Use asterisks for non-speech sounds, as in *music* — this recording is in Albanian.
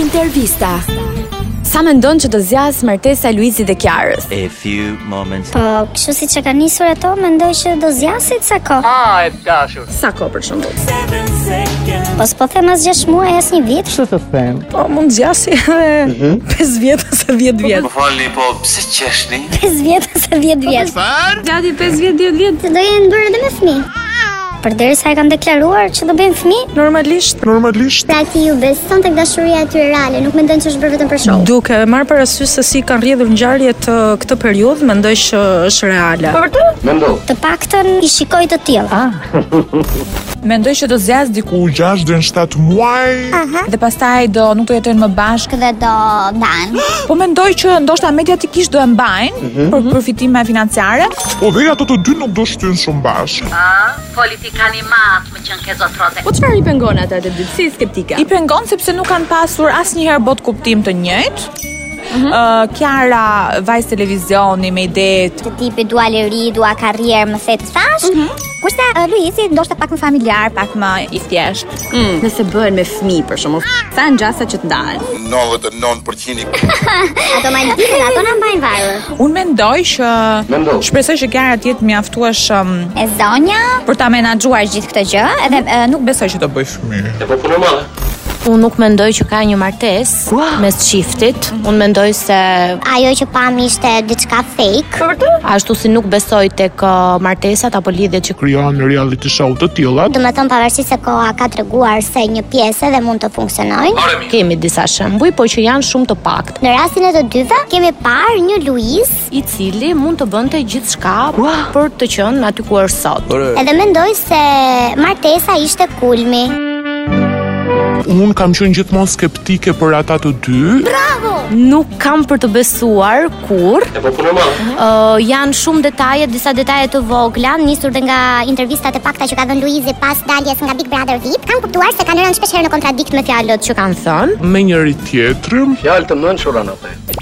Intervista. Sa mendon që do zjas martesa e Luizit dhe Kiarës? A few moments. Po, kështu si që ka nisur ato, mendoj që do zjasit sa ko. Ah, e dashur. Sa ko për shembull? Po s'po them as 6 muaj, as një vit. *laughs* Po mund zgjasi edhe 5 vjet ose 10 vjet. Më falni, po pse qeshni? 5 vjet ose 10 vjet. Gati 5 vjet, 10 vjet. Se do jenë bërë edhe me fëmijë. Përderisa e kam deklaruar që do bëjmë fëmijë, Normalisht pra ti ju beson tek dashuria e tyre reale, nuk mendon që është bërë vetëm për show. duke marrë parasysh se si kanë rrjedhur ngjarjet ë, këtë periudhë, mendoj që është reale. Të paktën i shikoj të tillë. Mendoj që do zjas diku 6 deri në 7 muaj. dhe pastaj do nuk do jetojnë më bashkë. Dhe do dan. Po mendoj që ndoshta mediatikisht do e mbajnë për përfitime financiare. O po dhe ato të dy nuk do shtyn shumë bashkë. Politikani mat, më qenë ke zotrote. Po çfarë i pengon ata të dy? Si skeptike? I pengon sepse nuk kanë pasur asnjëherë bot kuptim të njëjtë. Mhm. Ë Kiara vajz televizioni me ide Të tipi dua liri, dua karrierë, më the të thash. Kurse uh, Luizi ndoshta pak më familjar, pak pak më i thjeshtë. Mm. Nëse bëhen me fëmijë për shembull, sa ngjasa që të ndalen. 99% ato Maldivët, ato na mbajnë varur. Unë mendoj që shpresoj që Kiara të jetë mjaftueshëm E zonja për ta menaxhuar gjithë këtë gjë, edhe ë, nuk besoj që do bëj fëmijë. Unë nuk mendoj që ka një martesë mes shiftit. Unë mendoj se Ajo që pam ishte diçka fake ashtu si nuk besoj tek ë, martesat apo lidhjet që Krijon reality show të tilla. Do me thëmë pavarësi se koha ka të reguar se një pjesë edhe mund të funksionojnë kemi disa shembuj, po që janë shumë të paktë, Në rastin e të dyve, kemi parë një Luis i cili mund të bënte gjithçka për të qenë aty ku është sot. Edhe mendoj se martesa ishte kulmi Un kam qenë gjithmonë skeptike për ata të dy. Nuk kam për të besuar kur. E po janë shumë detaje, disa detaje të vogla, Nisur dhe nga intervistat e pakta që ka dhënë Luizi pas daljes nga Big Brother VIP Kam kuptuar se kanë rënë shpesh herë në kontradikt me fjalët që që kanë thënë. me njëri tjetrin. Fjalë të mënshura në pe.